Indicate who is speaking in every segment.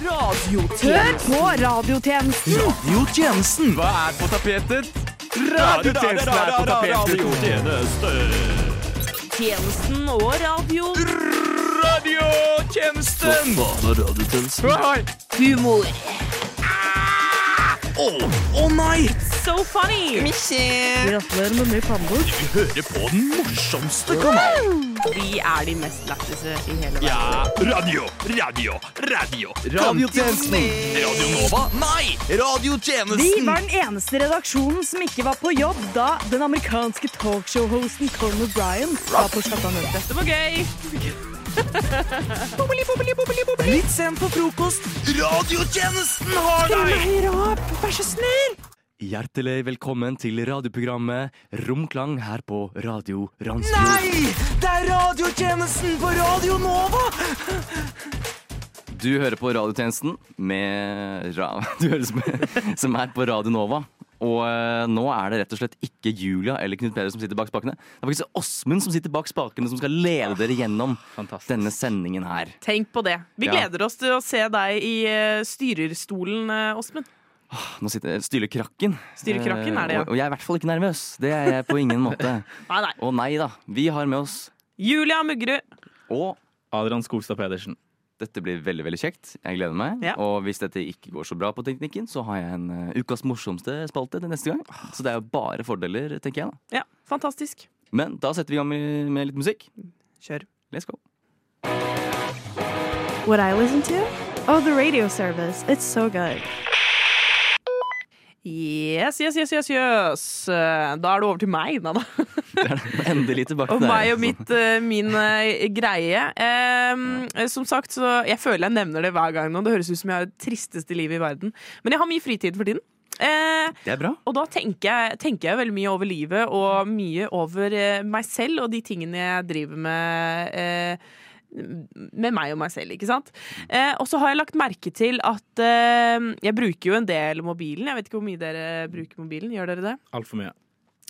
Speaker 1: Hør på radiotjenesten!
Speaker 2: Radiotjenesten! Hva er på tapetet? Radiotjenesten er på tapetet!
Speaker 1: Tjenesten og radio.
Speaker 2: Radiotjenesten! Hva faen er radiotjenesten? Å
Speaker 1: Humor.
Speaker 2: nei!
Speaker 1: So funny! Gratulerer med ny pannebok.
Speaker 2: Vi hører på den morsomste kanalen.
Speaker 1: Vi er de mest lættise i hele verden.
Speaker 2: Ja, radio, radio, radio. Radiotjenesten. Radio Nova? Nei!
Speaker 3: Vi
Speaker 2: Radiotjenesten!
Speaker 3: var den eneste redaksjonen som ikke var på jobb da den amerikanske talkshow-hosten Colin O'Brien var på skattamøte.
Speaker 1: Det var gøy!
Speaker 2: er Litt sent på frokost. Radiotjenesten har deg!
Speaker 3: Høyre opp, vær så snill!
Speaker 4: Hjertelig velkommen til radioprogrammet Romklang her på Radio Randsfjord.
Speaker 2: Nei! Det er radiotjenesten på Radio Nova!
Speaker 4: Du hører på radiotjenesten med ra du hører som, som er på Radio Nova. Og eh, nå er det rett og slett ikke Julia eller Knut Peder som sitter bak spakene. Det er faktisk Åsmund som sitter bak spakene, som skal lede dere gjennom denne sendingen her.
Speaker 1: Tenk på det. Vi
Speaker 4: Ja.
Speaker 1: gleder oss til å se deg i eh, styrerstolen, eh, Åsmund.
Speaker 4: Nå sitter eh, Stylekrakken.
Speaker 1: Stylekrakken er det, ja.
Speaker 4: Eh, Og, og jeg er i hvert fall ikke nervøs. Det er jeg på ingen måte.
Speaker 1: Nei, nei.
Speaker 4: Og nei da. Vi har med oss
Speaker 1: Julia Muggerud.
Speaker 4: og
Speaker 5: Adrian Skogstad Pedersen.
Speaker 4: Dette blir veldig veldig kjekt. Jeg gleder meg.
Speaker 1: Ja.
Speaker 4: Og hvis dette ikke går så bra på teknikken, så har jeg en eh, ukas morsomste spalte til neste gang.
Speaker 1: Ah.
Speaker 4: Så det er jo bare fordeler, tenker jeg. da.
Speaker 1: Ja, fantastisk.
Speaker 4: Men da setter vi i gang med, med litt musikk.
Speaker 1: Kjør.
Speaker 4: Let's go.
Speaker 3: What I listen to? Oh, the radio service. It's so good.
Speaker 1: Yes, yes, yes, yes, yes. Eh, Da er det over til meg, da. da.
Speaker 4: Endelig tilbake
Speaker 1: Og
Speaker 4: til
Speaker 1: meg
Speaker 4: deg.
Speaker 1: og mitt, eh, min eh, greie. Ehm, eh, Som sagt, så jeg føler jeg nevner det hver gang nå. Det høres ut som jeg har det tristeste livet i verden. Men jeg har mye fritid for tiden. Eh,
Speaker 4: Det er bra.
Speaker 1: og da tenker jeg, tenker jeg veldig mye over livet og mye over eh, meg selv og de tingene jeg driver med. Eh, med meg og meg selv, ikke sant. Eh, og så har jeg lagt merke til at eh, jeg bruker jo en del mobilen. Jeg vet ikke hvor mye dere bruker mobilen. Gjør dere det?
Speaker 5: Altfor mye.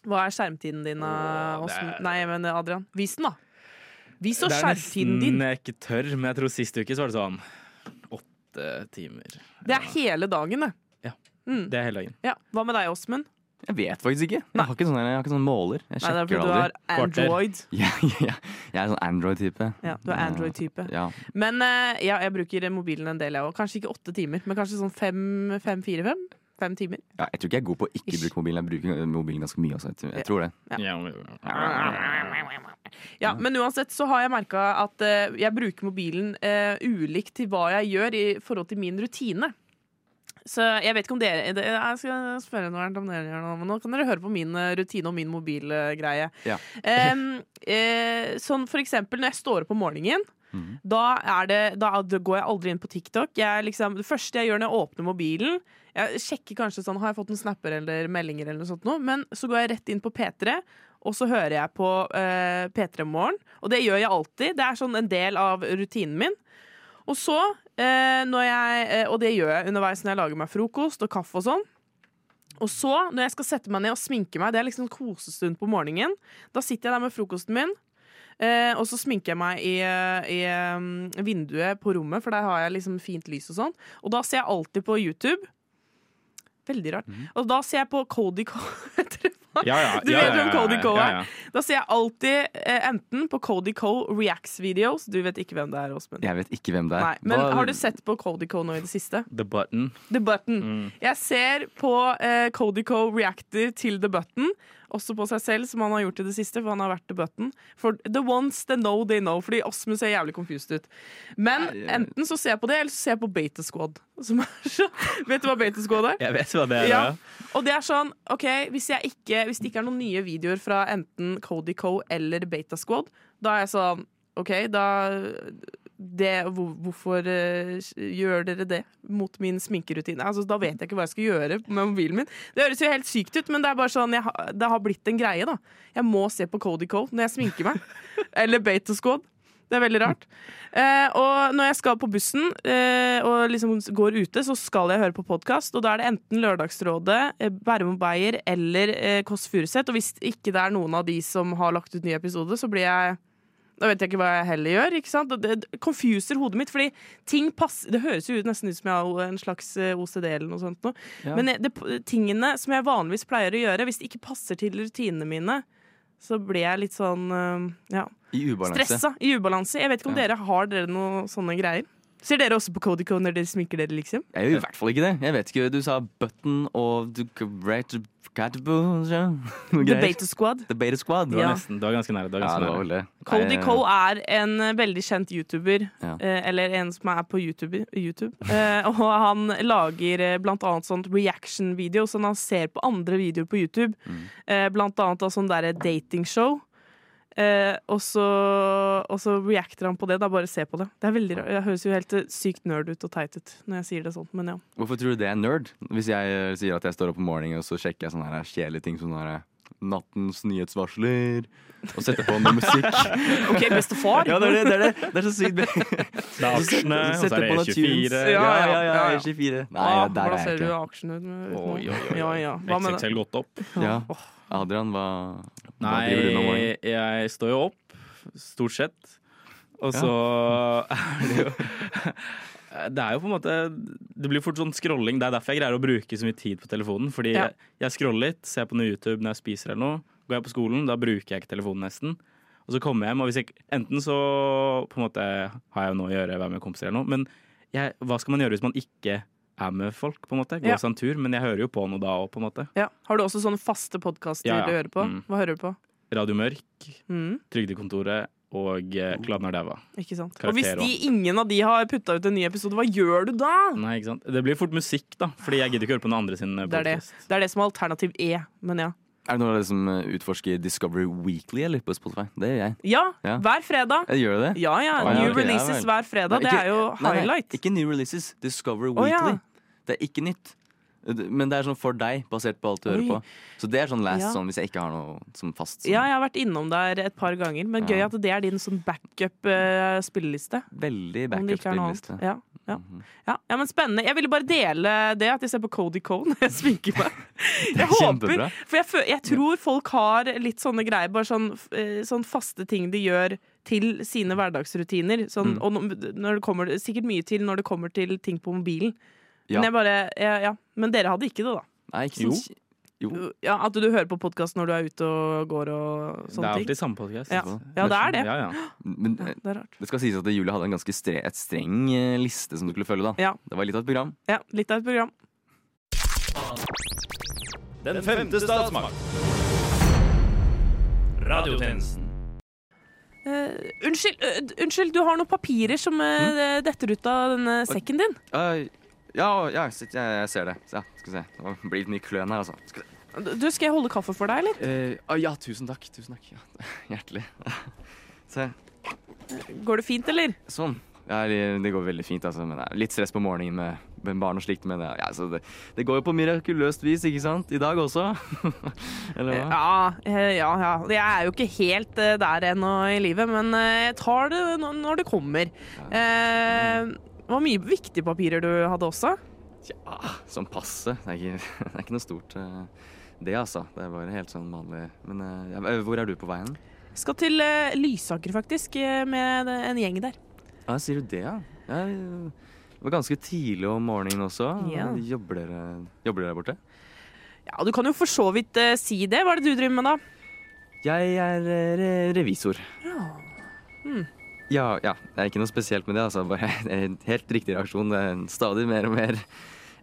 Speaker 1: Hva er skjermtiden din,
Speaker 5: Åh, det
Speaker 1: Åsmund?
Speaker 5: er-
Speaker 1: Nei, men eh, Adrian. Vis den, da. Vis oss
Speaker 5: det er
Speaker 1: skjermtiden din.
Speaker 5: nesten jeg ikke tør, men jeg tror sist uke så var det sånn åtte timer.
Speaker 1: Det er hele dagen, det.
Speaker 5: Det er hele dagen.
Speaker 1: Ja. Hva med deg, Åsmund?
Speaker 4: Jeg vet faktisk ikke. Jeg har ikke sånn, jeg har ikke sånn måler.
Speaker 1: Nei, det er
Speaker 4: Jeg sjekker
Speaker 1: fordi du har
Speaker 4: aldri.
Speaker 5: Kvarter.
Speaker 1: Android.
Speaker 4: Jeg, jeg, jeg er sånn Android-type.
Speaker 1: Ja, du er Android-type.
Speaker 4: Ja.
Speaker 1: Men eh, ja, jeg bruker mobilen en del, jeg òg. Kanskje ikke åtte timer, men kanskje sånn fem, fem fire, fem? Fem timer.
Speaker 4: ja, jeg tror ikke jeg er god på å ikke
Speaker 1: Ish.
Speaker 4: bruke mobilen. Jeg bruker mobilen ganske mye også. Jeg tror- Jeg tror det.
Speaker 1: Ja.
Speaker 5: Ja, men- ja.
Speaker 1: Ja, Men uansett så har jeg merka at eh, jeg bruker mobilen eh, ulikt til hva jeg gjør i forhold til min rutine. Så jeg vet ikke om dere det- Jeg skal spørre noe om dere gjør noe, men nå kan dere høre på min eh, rutine og min mobilgreie.
Speaker 4: Ja.
Speaker 1: Em, eh, sånn for eksempel når jeg står opp om morgenen. Da, er det, da går jeg aldri inn på TikTok. Jeg liksom, det første jeg gjør når jeg åpner mobilen Jeg sjekker kanskje sånn, Har jeg fått noen snapper eller meldinger, eller noe sånt noe, men så går jeg rett inn på P3. Og så hører jeg på eh, P3 Morgen, og det gjør jeg alltid. Det er sånn en del av rutinen min. Og så, eh, når jeg, eh, og det gjør jeg underveis når jeg lager meg frokost og kaffe og sånn. Og så, når jeg skal sette meg ned og sminke meg, det er liksom en kosestund på morgenen, da sitter jeg der med frokosten min. Eh, og så sminker jeg meg i, eh, i eh, vinduet på rommet, for der har jeg liksom fint lys og sånn. Og da ser jeg alltid på YouTube. Veldig rart. Og da ser jeg på Cody Co...
Speaker 5: Ja, ja,
Speaker 1: Du
Speaker 5: ja,
Speaker 1: vet
Speaker 5: ja,
Speaker 1: hvem
Speaker 5: ja,
Speaker 1: Cody Coe
Speaker 5: ja,
Speaker 1: er?
Speaker 5: ja.
Speaker 1: Da ser jeg alltid eh, enten på Cody Coe Reacts-videos. Du vet ikke hvem det er, Åsmund.
Speaker 4: Jeg vet ikke hvem det er.
Speaker 1: Nei, men
Speaker 4: Hva-
Speaker 1: har du sett på Cody Coe nå i det siste?
Speaker 5: The Button.
Speaker 1: The Button.
Speaker 4: Mm.
Speaker 1: Jeg ser på eh, Cody Coe reacter til The Button. Også på seg selv, som han har gjort i det siste. For han har vært The Button For the ones they know, they know. Fordi Åsmund ser jævlig confused ut. Men enten så ser jeg på det, eller så ser jeg på Beta Squad. Som er så, vet du hva Beta Squad er?
Speaker 5: Jeg vet hva det er.
Speaker 1: Ja.
Speaker 5: Ja.
Speaker 1: Og det er sånn, ok, hvis, jeg ikke, hvis det ikke er noen nye videoer fra enten Cody Co eller Beta Squad, da er jeg sånn, ok, da det, hvor- Hvorfor eh, gjør dere det mot min sminkerutine? Altså, da vet jeg ikke hva jeg skal gjøre med mobilen min. Det høres jo helt sykt ut, men det er bare sånn, jeg, har- det har blitt en greie. da Jeg må se på Cody Co når jeg sminker meg. eller Beta Squad. Det er veldig rart. Eh, og når jeg skal på bussen eh, og liksom går ute, så skal jeg høre på podkast. Og da er det enten Lørdagsrådet, eh, Bærum og Beyer eller eh, Kåss Furuseth. Og hvis ikke det er noen av de som har lagt ut nye episoder, så blir jeg Da vet jeg ikke hva jeg heller gjør. ikke sant? Og Det det confuser hodet mitt, fordi ting passer Det høres jo ut nesten ut som jeg har en slags eh, OCD eller noe sånt noe.
Speaker 4: Ja.
Speaker 1: Men jeg- det, tingene som jeg vanligvis pleier å gjøre, hvis det ikke passer til rutinene mine, så blir jeg litt sånn eh, ja,
Speaker 4: I ubalanse.
Speaker 1: stressa, i ubalanse. Jeg vet ikke om
Speaker 4: Ja.
Speaker 1: dere har dere noe sånne greier. Ser dere også på Codico når dere sminker dere, liksom?
Speaker 4: Jeg gjør i hvert fall ikke det. Jeg vet ikke, Du sa button og du- right- catbo- ja, noe
Speaker 1: The
Speaker 4: greier.
Speaker 1: Beta Squad.
Speaker 4: Debater Squad.
Speaker 5: Det var
Speaker 1: Ja.
Speaker 5: nesten, du var ganske nære. Du var
Speaker 4: Ja,
Speaker 5: ganske
Speaker 4: det
Speaker 5: nære.
Speaker 4: var vel det.
Speaker 1: Cody
Speaker 4: Nei,
Speaker 1: Cole er en eh, veldig kjent YouTuber,
Speaker 4: Ja.
Speaker 1: eh, eller en som er på YouTube. YouTube. Eh, og han lager eh, blant annet sånt reaction-video, sånn han ser på andre videoer på YouTube.
Speaker 4: Mm.
Speaker 1: Eh, blant annet av sånn derre datingshow. Eh, og, så, og så reacter han på det. Da bare se på det. Det er veldig rart. Jeg høres jo helt eh, sykt nerd ut og teit ut når jeg sier det sånn, men ja.
Speaker 4: Hvorfor tror du det er nerd? Hvis jeg eh, sier at jeg står opp om morgenen og så sjekker jeg sånne her kjedelige ting som sånne her eh, Nattens nyhetsvarsler og setter på noe musikk.
Speaker 1: OK, bestefar!
Speaker 4: Ja, det er det! Det er, det. Det er så sykt.
Speaker 5: Det er aksjene, og så er det E E24.
Speaker 4: Ja,
Speaker 1: Ja, ja,
Speaker 4: ja, ja.
Speaker 1: ja, ja.
Speaker 4: E24. Nei,
Speaker 1: Ah,
Speaker 4: der
Speaker 1: hvordan
Speaker 4: er
Speaker 1: ser
Speaker 4: jeg
Speaker 1: du
Speaker 4: ikke.
Speaker 1: aksjen ut? med-
Speaker 5: Oi, oi, oi, oi.
Speaker 1: Ja, ja. Hva med det?
Speaker 5: XXL gått opp.
Speaker 4: Ja.
Speaker 1: Åh.
Speaker 4: Adrian, hva, hva driver du med om morgenen?
Speaker 5: Nei, jeg står jo opp, stort sett. Og så er det jo Det er jo på en måte Det blir fort sånn scrolling. Det er derfor jeg greier å bruke så mye tid på telefonen. Fordi
Speaker 1: Ja.
Speaker 5: jeg, jeg scroller litt, ser på noe YouTube når jeg spiser eller noe. Går jeg på skolen, da bruker jeg ikke telefonen nesten. Og så kommer jeg hjem, og hvis jeg Enten så på en måte har jeg jo noe å gjøre, være med kompiser eller noe, men jeg, hva skal man gjøre hvis man ikke er med folk, på en måte? Gå
Speaker 1: Ja.
Speaker 5: seg en tur, men jeg hører jo på noe da òg, på en måte.
Speaker 1: Ja. Har du også sånne faste podkaster
Speaker 5: Ja, ja.
Speaker 1: du hører på?
Speaker 5: Mm.
Speaker 1: Hva hører du på?
Speaker 5: Radio Mørk,
Speaker 1: Mm.
Speaker 5: Trygdekontoret og eh, Kladden er daua.
Speaker 1: Ikke sant?
Speaker 5: Karakter
Speaker 1: og hvis de,
Speaker 5: også.
Speaker 1: ingen av de har putta ut en ny episode, hva gjør du da?
Speaker 5: Nei, ikke sant? Det blir fort musikk, da. Fordi jeg gidder ikke høre på noen andre sin eh,
Speaker 1: Det er det.
Speaker 5: podkast.
Speaker 1: Det er det som er alternativ E, men ja.
Speaker 4: Er det noen av dere som eh, utforsker Discovery Weekly eller på Spotify? Det gjør jeg.
Speaker 1: Ja,
Speaker 4: Ja.
Speaker 1: hver fredag.
Speaker 4: Jeg gjør det.
Speaker 1: Ja ja,
Speaker 4: Å, ja,
Speaker 1: new
Speaker 4: ok, ja
Speaker 1: releases
Speaker 4: vel.
Speaker 1: hver fredag.
Speaker 4: Nei,
Speaker 1: Det
Speaker 4: ikke-
Speaker 1: er jo
Speaker 4: Nei, nei,
Speaker 1: highlight.
Speaker 4: Ikke New Releases, Discover
Speaker 1: Å, ja.
Speaker 4: Weekly. Det er ikke nytt. Men det er sånn for deg, basert på alt du hører
Speaker 1: Oi.
Speaker 4: på. Så det er sånn last
Speaker 1: Ja.
Speaker 4: sånn hvis jeg ikke har noe som fast. Sånn.
Speaker 1: Ja, jeg har vært innom der et par ganger, men gøy
Speaker 4: Ja.
Speaker 1: at det er din sånn eh, backup-spilleliste.
Speaker 4: Veldig
Speaker 1: Om det ikke er noe annet.
Speaker 4: backup-spilleliste.
Speaker 1: Ja. Ja. ja, ja, men Spennende. Jeg ville bare dele det at jeg ser på Cody Cone når jeg sminker meg. Jeg håper,
Speaker 4: kjempebra.
Speaker 1: for jeg, fø- jeg tror folk har litt sånne greier, bare sånn, f- eh, sånn faste ting de gjør til sine hverdagsrutiner. Sånn, Og no- når det kommer, sikkert mye til når det kommer til ting på mobilen.
Speaker 4: Ja.
Speaker 1: Men, jeg bare, ja, ja. men dere hadde ikke det, da?
Speaker 4: Nei, ikke sånn kj- Jo.
Speaker 1: Ja, at du hører på podkast når du er ute og går og
Speaker 5: Det er
Speaker 1: sånne ting?
Speaker 5: alltid samme podkast.
Speaker 1: Ja. ja, det er det.
Speaker 5: Ja, ja.
Speaker 4: Men
Speaker 1: Ja,
Speaker 4: eh,
Speaker 1: det er rart.
Speaker 4: det skal sies at Julie hadde en ganske stre et streng eh, liste som du skulle følge, da.
Speaker 1: Ja.
Speaker 4: Det var litt av et program.
Speaker 1: Ja, litt av et program.
Speaker 6: Den femte statsmakt. Radiotjenesten.
Speaker 1: Eh, unnskyld, eh, d- unnskyld, du har noen papirer som eh, detter ut av denne sekken din.
Speaker 4: Eh, ja, ja, sitt, jeg, jeg ser det. Så, ja, skal vi se. Det blir litt mye kløn her, altså. Skal vi se.
Speaker 1: Du, Skal jeg holde kaffe for deg, eller?
Speaker 4: Eh, ah, ja, tusen takk. Tusen takk. Ja, hjertelig. Se.
Speaker 1: Går det fint, eller?
Speaker 4: Sånn. Ja, det det går veldig fint, altså. Men det er litt stress på morgenen med- med barn og slikt. Men ja, altså, det, det går jo på mirakuløst vis, ikke sant? I dag også. Eller hva?
Speaker 1: Ja, eh, ja, ja. Jeg er jo ikke helt eh, der ennå i livet, men eh, jeg tar det n- når det kommer. Eh, Det var mye viktige papirer du hadde også.
Speaker 4: Ja, sånn passe. Det er ikke, det er ikke noe stort, eh, det, altså. Det er bare helt sånn vanlig. Men eh, ja, eh, hvor er du på veien?
Speaker 1: Skal til eh, Lysaker, faktisk, eh, med en gjeng der.
Speaker 4: Ja, sier du det, ja? ja eh, det var ganske tidlig om morgenen også.
Speaker 1: Ja.
Speaker 4: Jobber, dere, jobber dere der borte?
Speaker 1: Ja, Du kan jo for så vidt eh, si det. Hva er det du driver med, da?
Speaker 4: Jeg er eh, re revisor. Hmm. Ja, ja. Det er ikke noe spesielt med det. Altså. Bare en helt riktig reaksjon. Det er en stadig mer og mer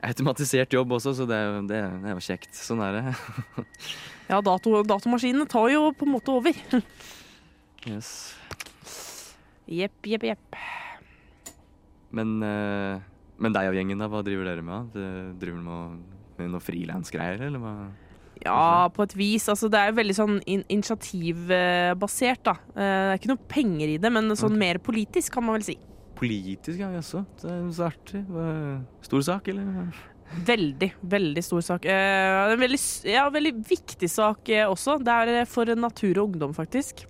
Speaker 4: automatisert jobb også, så det er, jo- det er, det er jo kjekt. Sånn er det.
Speaker 1: Ja, dato, Datamaskinene tar jo på en måte over.
Speaker 4: Yes.
Speaker 1: Jepp, jepp, jepp.
Speaker 4: Men, eh, men deg og gjengen, da, hva driver dere med? da? Det- Driver dere med, med noe frilansgreier, eller hva?
Speaker 1: Ja, på et vis. Altså, det er jo veldig sånn in initiativbasert, da. Eh, Det er ikke noe penger i det, men sånn mer politisk, kan man vel si.
Speaker 4: Politisk, ja, jaså. Det er jo så artig. Hva- Stor sak, eller?
Speaker 1: Veldig, veldig stor sak. Eh, det er en veldig, s- ja, veldig viktig sak eh, også. Det er eh, for natur og ungdom, faktisk.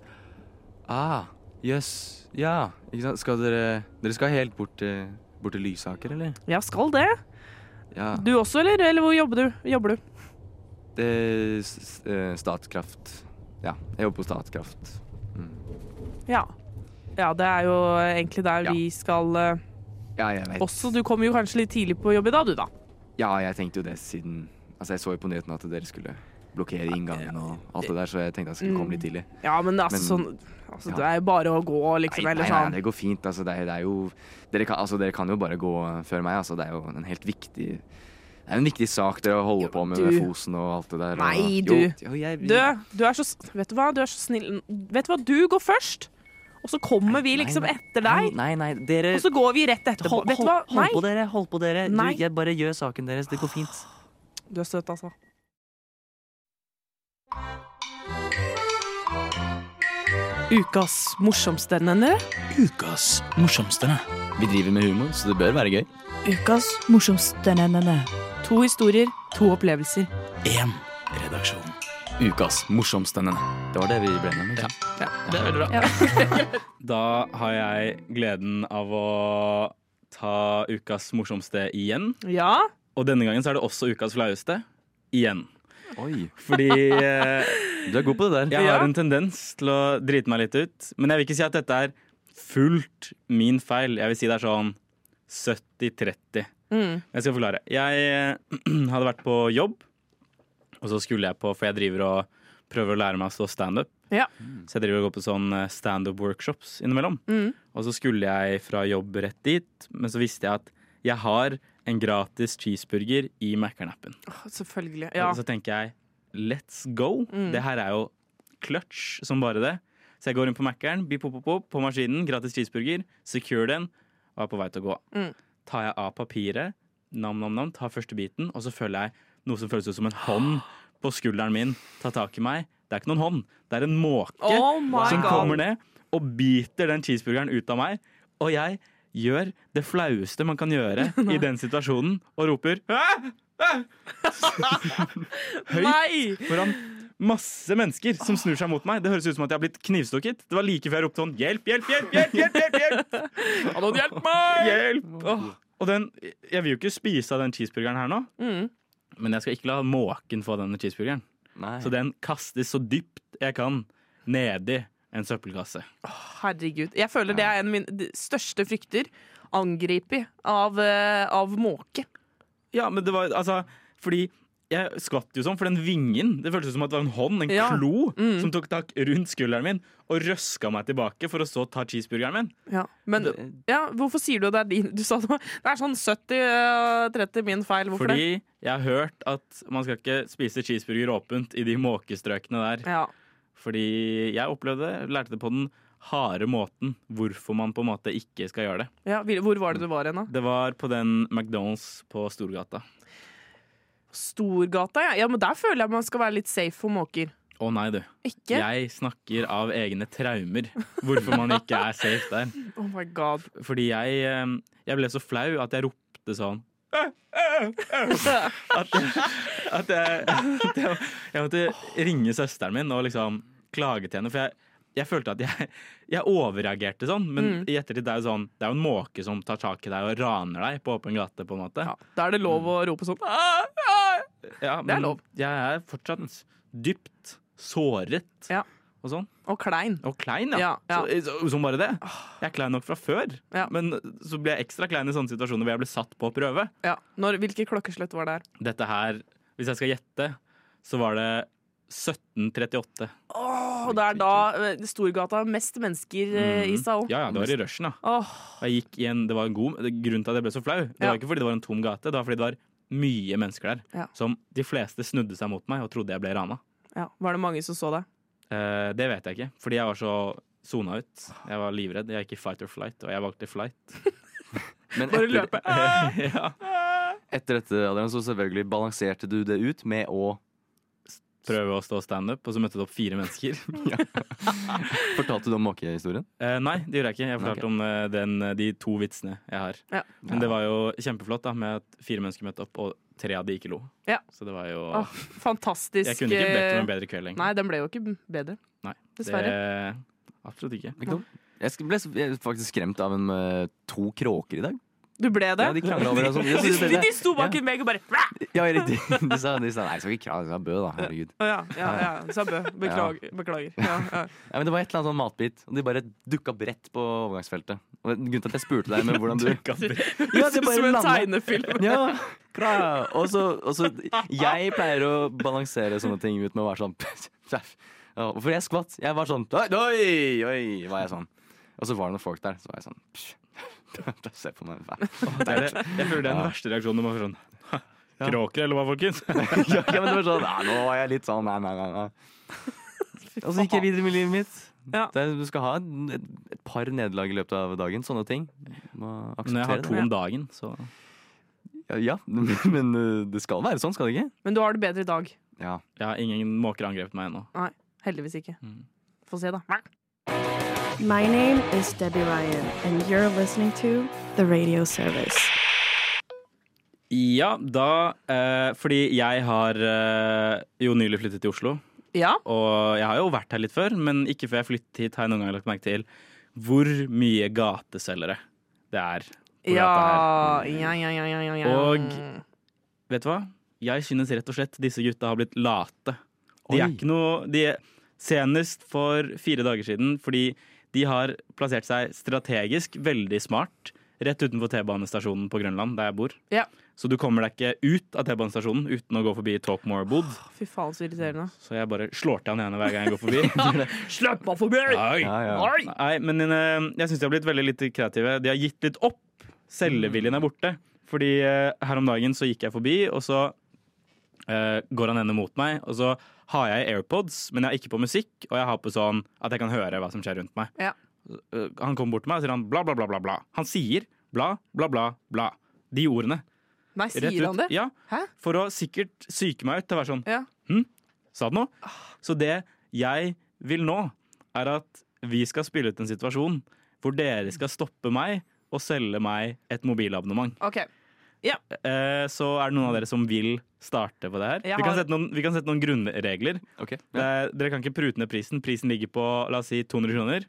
Speaker 4: Ah, jøss. Yes. Ja, ikke sant. Skal dere Dere skal helt bort til, bort til Lysaker, eller?
Speaker 1: Ja, skal det.
Speaker 4: Ja.
Speaker 1: Du også, eller? Eller hvor jobber du? Jobber du?
Speaker 4: Eh, s- s- eh, Statkraft. Ja, jeg jobber på Statkraft.
Speaker 1: Ja. Ja, det er jo eh, egentlig der
Speaker 4: Ja.
Speaker 1: vi skal eh,
Speaker 4: Ja, jeg vet.
Speaker 1: også. Du kom jo kanskje litt tidlig på jobb i dag, du, da.
Speaker 4: Ja, jeg tenkte jo det siden Altså, jeg så jo på nyhetene at dere skulle blokkere inngangen og alt det der, så jeg tenkte jeg skulle komme litt tidlig.
Speaker 1: Ja, men altså
Speaker 4: Men-
Speaker 1: sånn altså,
Speaker 4: ja.
Speaker 1: Det er jo bare å gå, liksom.
Speaker 4: Nei, nei,
Speaker 1: eller
Speaker 4: nei,
Speaker 1: sånn.
Speaker 4: det går fint. Altså, det er, det er jo dere kan, altså, dere kan jo bare gå før meg. Altså, det er jo en helt viktig Det er jo en viktig sak dere holder på med,
Speaker 1: du-
Speaker 4: med Fosen og alt det der.
Speaker 1: Nei,
Speaker 4: og,
Speaker 1: du.
Speaker 4: Jo, jo, jeg,
Speaker 1: Du, du er så s- Vet du hva, du er så snill. Vet du hva, du går først, og så kommer vi
Speaker 4: Nei,
Speaker 1: liksom
Speaker 4: nei.
Speaker 1: etter deg.
Speaker 4: Nei, nei, dere
Speaker 1: Og så går vi rett etter. Hold, vet du hva? Nei.
Speaker 4: dere, hold på dere.
Speaker 1: Du, Nei.
Speaker 4: jeg bare gjør saken deres. Det går fint.
Speaker 1: Du er søt, altså. Ukas morsomste, nenne.
Speaker 2: Ukas morsomste.
Speaker 4: Vi driver med humor, så det bør være gøy.
Speaker 3: Ukas morsomste nennene.
Speaker 1: To historier, to opplevelser.
Speaker 2: Én redaksjon.
Speaker 4: Ukas morsomste. Det var det vi ble med. Ja.
Speaker 2: Det er veldig bra.
Speaker 5: Da har jeg gleden av å ta ukas morsomste igjen.
Speaker 1: Ja,
Speaker 5: Og denne gangen så er det også ukas flaueste igjen.
Speaker 4: Oi,
Speaker 5: Fordi eh,
Speaker 4: du er god på det der.
Speaker 5: jeg
Speaker 1: Ja.
Speaker 5: har en tendens til å drite meg litt ut. Men jeg vil ikke si at dette er fullt min feil. Jeg vil si det er sånn 70-30.
Speaker 1: Mm.
Speaker 5: Jeg skal forklare. Jeg eh, hadde vært på jobb, og så skulle jeg på, for jeg driver og prøver å lære meg å stå standup.
Speaker 1: Ja.
Speaker 5: Så jeg driver og går på sånn eh, standup-workshops innimellom.
Speaker 1: Mm.
Speaker 5: Og så skulle jeg fra jobb rett dit, men så visste jeg at jeg har en gratis cheeseburger i Mackern-appen.
Speaker 1: selvfølgelig. Ja. Mm.
Speaker 5: Og så tenker jeg let's go. Det her er jo clutch som bare det. Så jeg går inn på Mac-eren, bip, pop, pop, pop, på maskinen, gratis cheeseburger, secure den, og er på vei til å gå.
Speaker 1: Mm.
Speaker 5: Tar jeg av papiret, nam, nam, nam, tar første biten, og så føler jeg noe som føles ut som en hånd på skulderen min, tar tak i meg. Det er ikke noen hånd, det er en måke
Speaker 1: Oh my
Speaker 5: som kommer
Speaker 1: god.
Speaker 5: ned og biter den cheeseburgeren ut av meg. Og jeg gjør det flaueste man kan gjøre i den situasjonen, og roper «Æ! Æ!» høyt
Speaker 1: Nei!
Speaker 5: foran masse mennesker som snur seg mot meg. Det høres ut som at jeg har blitt knivstukket. Det var like før jeg ropte sånn Hjelp, hjelp, hjelp! hjelp, hjelp, hjelp, hjelp,
Speaker 1: Hallo, hjelp meg!
Speaker 5: hjelp! Åh. Og den, jeg vil jo ikke spise av den cheeseburgeren her nå,
Speaker 1: Mm.
Speaker 5: men jeg skal ikke la måken få denne cheeseburgeren.
Speaker 4: Nei.
Speaker 5: Så den kastes så dypt jeg kan nedi en søppelkasse.
Speaker 1: Herregud. Jeg føler det er en av mine de største frykter. Angrepet av, eh, av måke.
Speaker 5: Ja, men det var altså Fordi jeg skvatt jo sånn, for den vingen Det føltes som at det var en hånd, en
Speaker 1: Ja.
Speaker 5: klo,
Speaker 1: Mm.
Speaker 5: som tok tak rundt skulderen min og røska meg tilbake for å så ta cheeseburgeren min.
Speaker 1: Ja. Men ja, hvorfor sier du at det er din? Du sa det var, det er sånn 70-30 min feil. Hvorfor
Speaker 5: Fordi jeg har hørt at man skal ikke spise cheeseburger åpent i de måkestrøkene der.
Speaker 1: det? Ja.
Speaker 5: Fordi jeg opplevde det, lærte det på den harde måten hvorfor man på en måte ikke skal gjøre det.
Speaker 1: Ja, hvor- hvor var det du var hen, da?
Speaker 5: Det var på den McDonald's på Storgata.
Speaker 1: Storgata, ja. ja. Men der føler jeg man skal være litt safe for måker.
Speaker 5: Å nei, du.
Speaker 1: Ikke?
Speaker 5: Jeg snakker av egne traumer. Hvorfor man ikke er safe der.
Speaker 1: Oh my god.
Speaker 5: Fordi jeg, eh, jeg ble så flau at jeg ropte sånn At jeg, at jeg, at jeg, jeg måtte ringe søsteren min og liksom klage til henne. For jeg, jeg følte at jeg, jeg overreagerte sånn. Men
Speaker 1: Mm.
Speaker 5: i ettertid det er jo sånn Det er jo en måke som tar tak i deg og raner deg på åpen gate. på en måte
Speaker 1: Ja, da er det
Speaker 5: Mm.
Speaker 1: lov å rope sånn «Ah, ah!»
Speaker 5: Ja,
Speaker 1: det er lov.
Speaker 5: Jeg er fortsatt dypt såret
Speaker 1: Ja.
Speaker 5: og sånn.
Speaker 1: Og klein.
Speaker 5: Og klein, ja.
Speaker 1: Ja, ja. Ah.
Speaker 5: Så, så, som bare det. Jeg er klein nok fra før,
Speaker 1: Ja.
Speaker 5: men så ble jeg ekstra klein i sånne situasjoner hvor jeg ble satt på prøve.
Speaker 1: Ja. Når, hvilke klokkeslett var det her?
Speaker 5: Dette her, hvis jeg skal gjette, så var det 1738.
Speaker 1: Åh, det er da eh, Storgata har mest mennesker eh, i seg òg.
Speaker 5: Mm. Ja, ja, det var i rushen, da. Og Jeg gikk i en, det var en god, grunnen til at jeg ble så flau, det
Speaker 1: Ja.
Speaker 5: var ikke fordi det var en tom gate, det var fordi det var mye mennesker der.
Speaker 1: Ja.
Speaker 5: Som de fleste snudde seg mot meg og trodde jeg ble rana.
Speaker 1: ja. Var det mange som så det?
Speaker 5: Eh, det vet jeg ikke, fordi jeg var så sona ut. Jeg var livredd. Jeg gikk i fight or flight, og jeg valgte flight.
Speaker 4: Men
Speaker 1: Bare
Speaker 4: etter,
Speaker 1: løpe.
Speaker 5: ja.
Speaker 4: etter dette Adrian, så selvfølgelig balanserte du det ut med å
Speaker 5: Prøve å stå standup, og så møtte det opp fire mennesker.
Speaker 4: Fortalte du om måkehistorien?
Speaker 5: Eh, nei, det gjorde jeg ikke. Jeg fortalte
Speaker 4: Ok.
Speaker 5: om eh, den, de to vitsene jeg har.
Speaker 1: Ja.
Speaker 5: Men det var jo kjempeflott da, med at fire mennesker møtte opp, og tre av de ikke lo.
Speaker 1: Ja.
Speaker 5: Så det var jo
Speaker 1: Åh, fantastisk.
Speaker 5: Jeg kunne ikke bedt om en
Speaker 1: eh,
Speaker 5: bedre kveld lenger.
Speaker 1: Nei, den ble jo ikke bedre.
Speaker 5: Nei,
Speaker 1: Dessverre.
Speaker 5: Det, absolutt ikke.
Speaker 4: Ikke dumt. Jeg sk- ble s- jeg er faktisk skremt av en med to eh, kråker i dag.
Speaker 1: Du ble det?
Speaker 4: Ja, de krangla over det og sånn. Ja,
Speaker 1: de,
Speaker 4: så
Speaker 1: de,
Speaker 4: det-
Speaker 1: de sto bak
Speaker 4: ja.
Speaker 1: en vegg og bare Å,
Speaker 4: Ja, riktig. De sa, de sa nei, jeg skal ikke krangle, jeg sa bø, da. Herregud.
Speaker 1: ja, ja, ja, sa Bø. Beklager. beklager. Ja, ja.
Speaker 4: Ja, men det var et eller annet sånn matbit, og de bare dukka bredt på overgangsfeltet. Og Grunnen til at jeg spurte deg med hvordan du Ja, det bare
Speaker 1: Som en
Speaker 4: landet.
Speaker 1: tegnefilm.
Speaker 4: Ja, klar. Og så, og så Jeg pleier å balansere sånne ting ut med å være sånn Pff, ja, For jeg skvatt. Jeg var sånn Oi, oi, oi, var jeg sånn. Og så var det noen folk der, så var jeg sånn pff, Se på meg.
Speaker 5: Det er det. Jeg føler det er den verste reaksjonen. Du må være sånn Kråker, eller hva, folkens?
Speaker 4: Ja, men det var sånn Nei, nå var jeg litt sånn Nei, nei, nei. nei. Og så gikk jeg videre med livet mitt.
Speaker 1: Ja.
Speaker 4: Det, er- du skal ha et, et par nederlag i løpet av dagen. Sånne ting. Må
Speaker 5: Når jeg
Speaker 4: akseptere
Speaker 5: har to
Speaker 4: det.
Speaker 5: om dagen, så
Speaker 4: Ja, men øh, det skal være sånn, skal det ikke?
Speaker 1: Men du har det bedre i dag.
Speaker 4: Ja.
Speaker 5: Ja, ingen måker har angrepet meg ennå.
Speaker 1: Nei, heldigvis ikke.
Speaker 5: Mm.
Speaker 1: Få se, da.
Speaker 7: My name is Debbie Ryan, and you're listening to The Radio Service.
Speaker 5: Ja, da eh, Fordi jeg har eh, jo nylig flyttet til Oslo.
Speaker 1: Ja.
Speaker 5: Og jeg har jo vært her litt før, men ikke før jeg flyttet hit har jeg noen gang lagt merke til hvor mye gateselgere det er. på
Speaker 1: Ja,
Speaker 5: gata her.
Speaker 1: ja, ja, ja, ja, ja, ja.
Speaker 5: Mm. Og- Vet du hva? Jeg synes rett og slett disse gutta har blitt late. De er
Speaker 4: Oi.
Speaker 5: ikke noe de, Senest for fire dager siden, fordi de har plassert seg strategisk veldig smart rett utenfor T-banestasjonen på Grønland, der jeg bor.
Speaker 1: Ja.
Speaker 5: Så du kommer deg ikke ut av T-banestasjonen uten å gå forbi Talkmore-bod.
Speaker 1: Fy faen, så irriterende.
Speaker 5: Så jeg bare slår til han ene hver gang jeg går forbi.
Speaker 1: Slipp meg forbi!
Speaker 4: ja, ja.
Speaker 5: Nei, men eh, jeg syns de har blitt veldig litt kreative. De har gitt litt opp. Selgeviljen er borte. Fordi eh, her om dagen så gikk jeg forbi, og så eh, går han ene mot meg. Og så har jeg AirPods, men jeg har ikke på musikk, og jeg har på sånn at jeg kan høre hva som skjer rundt meg.
Speaker 1: Ja.
Speaker 5: Eh, han kommer bort til meg og sier han bla, bla, bla, bla, bla. Han sier bla, bla, bla, bla. De ordene.
Speaker 1: Nei,
Speaker 5: Rett
Speaker 1: sier
Speaker 5: ut.
Speaker 1: han det?
Speaker 5: Ja.
Speaker 1: Hæ?
Speaker 5: For å sikkert psyke meg ut til å være sånn
Speaker 1: Ja.
Speaker 5: Sa den noe? Så det jeg vil nå, er at vi skal spille ut en situasjon hvor dere skal stoppe meg og selge meg et mobilabonnement.
Speaker 1: OK.
Speaker 5: Eh, så er det noen av dere som vil starte på det her?
Speaker 1: Jeg
Speaker 5: Vi kan
Speaker 1: har-
Speaker 5: sette noen, vi kan sette noen grunnregler.
Speaker 4: Ok.
Speaker 5: Det er- Dere kan ikke prute ned prisen. Prisen ligger på la oss si 200 kroner.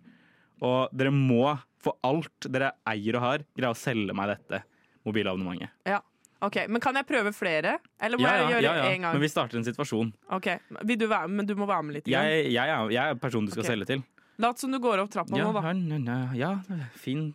Speaker 5: Og dere må for alt dere eier og har, greie å selge meg dette mobilabonnementet.
Speaker 1: Ja. Ok, Men kan jeg prøve flere? Eller må jeg gjøre én gang?
Speaker 5: Men vi starter en situasjon.
Speaker 1: Ok, Vil du være, Men du må være med litt. grann.
Speaker 5: Jeg, jeg, er, jeg er personen du skal
Speaker 1: Ok.
Speaker 5: selge til.
Speaker 1: Lat som du går opp trappa
Speaker 5: Ja,
Speaker 1: nå, da.
Speaker 5: han, ja, ja, ja, fin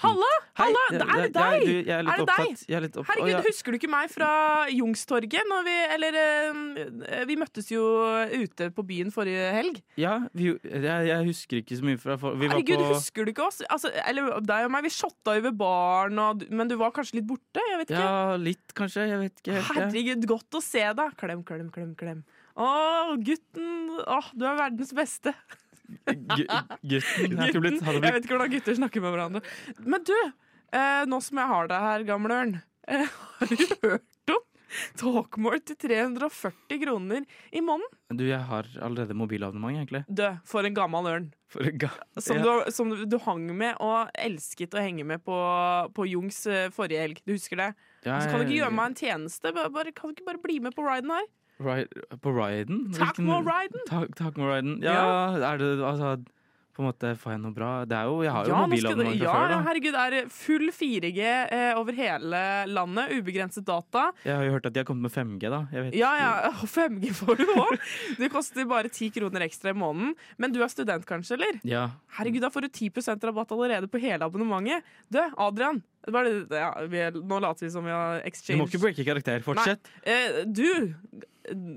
Speaker 1: Halla!
Speaker 5: Hei,
Speaker 1: Halla!
Speaker 5: det-
Speaker 1: Er det
Speaker 5: det- jeg-
Speaker 1: deg?
Speaker 5: du, jeg er litt
Speaker 1: Er det deg?
Speaker 5: opptatt. Jeg er litt opp- Å,
Speaker 1: Herregud,
Speaker 5: ja.
Speaker 1: husker du ikke meg fra Youngstorget? Når vi, eller, eh, vi møttes jo ute på byen forrige helg.
Speaker 5: Ja, vi, jeg, jeg husker ikke så mye fra for, Vi var
Speaker 1: Herregud,
Speaker 5: på
Speaker 1: husker du ikke oss? Altså, eller deg og meg, vi shotta over baren, og, du- men du var kanskje litt borte? Jeg vet ikke.
Speaker 5: Ja, litt kanskje. Jeg vet ikke helt. jeg.
Speaker 1: Herregud, godt å se deg. Klem, klem, klem, klem. Å, gutten. Åh, du er verdens beste.
Speaker 5: Gu- Gutten har ikke blitt,
Speaker 1: Gutten. Jeg
Speaker 5: hadde blitt
Speaker 1: vet ikke hvordan gutter snakker med hverandre. Men du, eh, nå som jeg har deg her, gamle ørn, eh, har du hørt om Talkmore til 340 kroner i måneden?
Speaker 5: Du, jeg har allerede mobilabonnement, egentlig.
Speaker 1: Død for en gammel ørn.
Speaker 5: For ga,
Speaker 1: Som,
Speaker 5: Ja.
Speaker 1: du, som du, du hang med og elsket å henge med på, på Jungs eh, forrige helg. Du husker det?
Speaker 5: Ja,
Speaker 1: Så kan du ikke
Speaker 5: jeg-
Speaker 1: gjøre meg en tjeneste? Bare, bare, kan du ikke bare bli med på riden her?
Speaker 5: Ri- På Ryden?
Speaker 1: Takk for riden!
Speaker 5: Takk, takk med Ryden. Ja, er det altså på en måte, Får jeg noe bra Det er jo, Jeg har jo
Speaker 1: nå skal
Speaker 5: mobilabonnement
Speaker 1: du-
Speaker 5: fra
Speaker 1: ja,
Speaker 5: før, da.
Speaker 1: herregud, det er full 4G eh, over hele landet. Ubegrenset data.
Speaker 5: Jeg har jo hørt at de har kommet med 5G, da. Jeg vet.
Speaker 1: Ja, ja, og 5G får du òg. Det koster bare 10 kroner ekstra i måneden. Men du er student, kanskje? eller?
Speaker 5: Ja.
Speaker 1: Herregud, da får du 10 rabatt allerede på hele abonnementet. Du, Adrian. det var det- ja, vi, nå later vi som vi har
Speaker 5: Du
Speaker 1: exchange.
Speaker 5: må ikke breake karakter. Fortsett.
Speaker 1: Eh, du,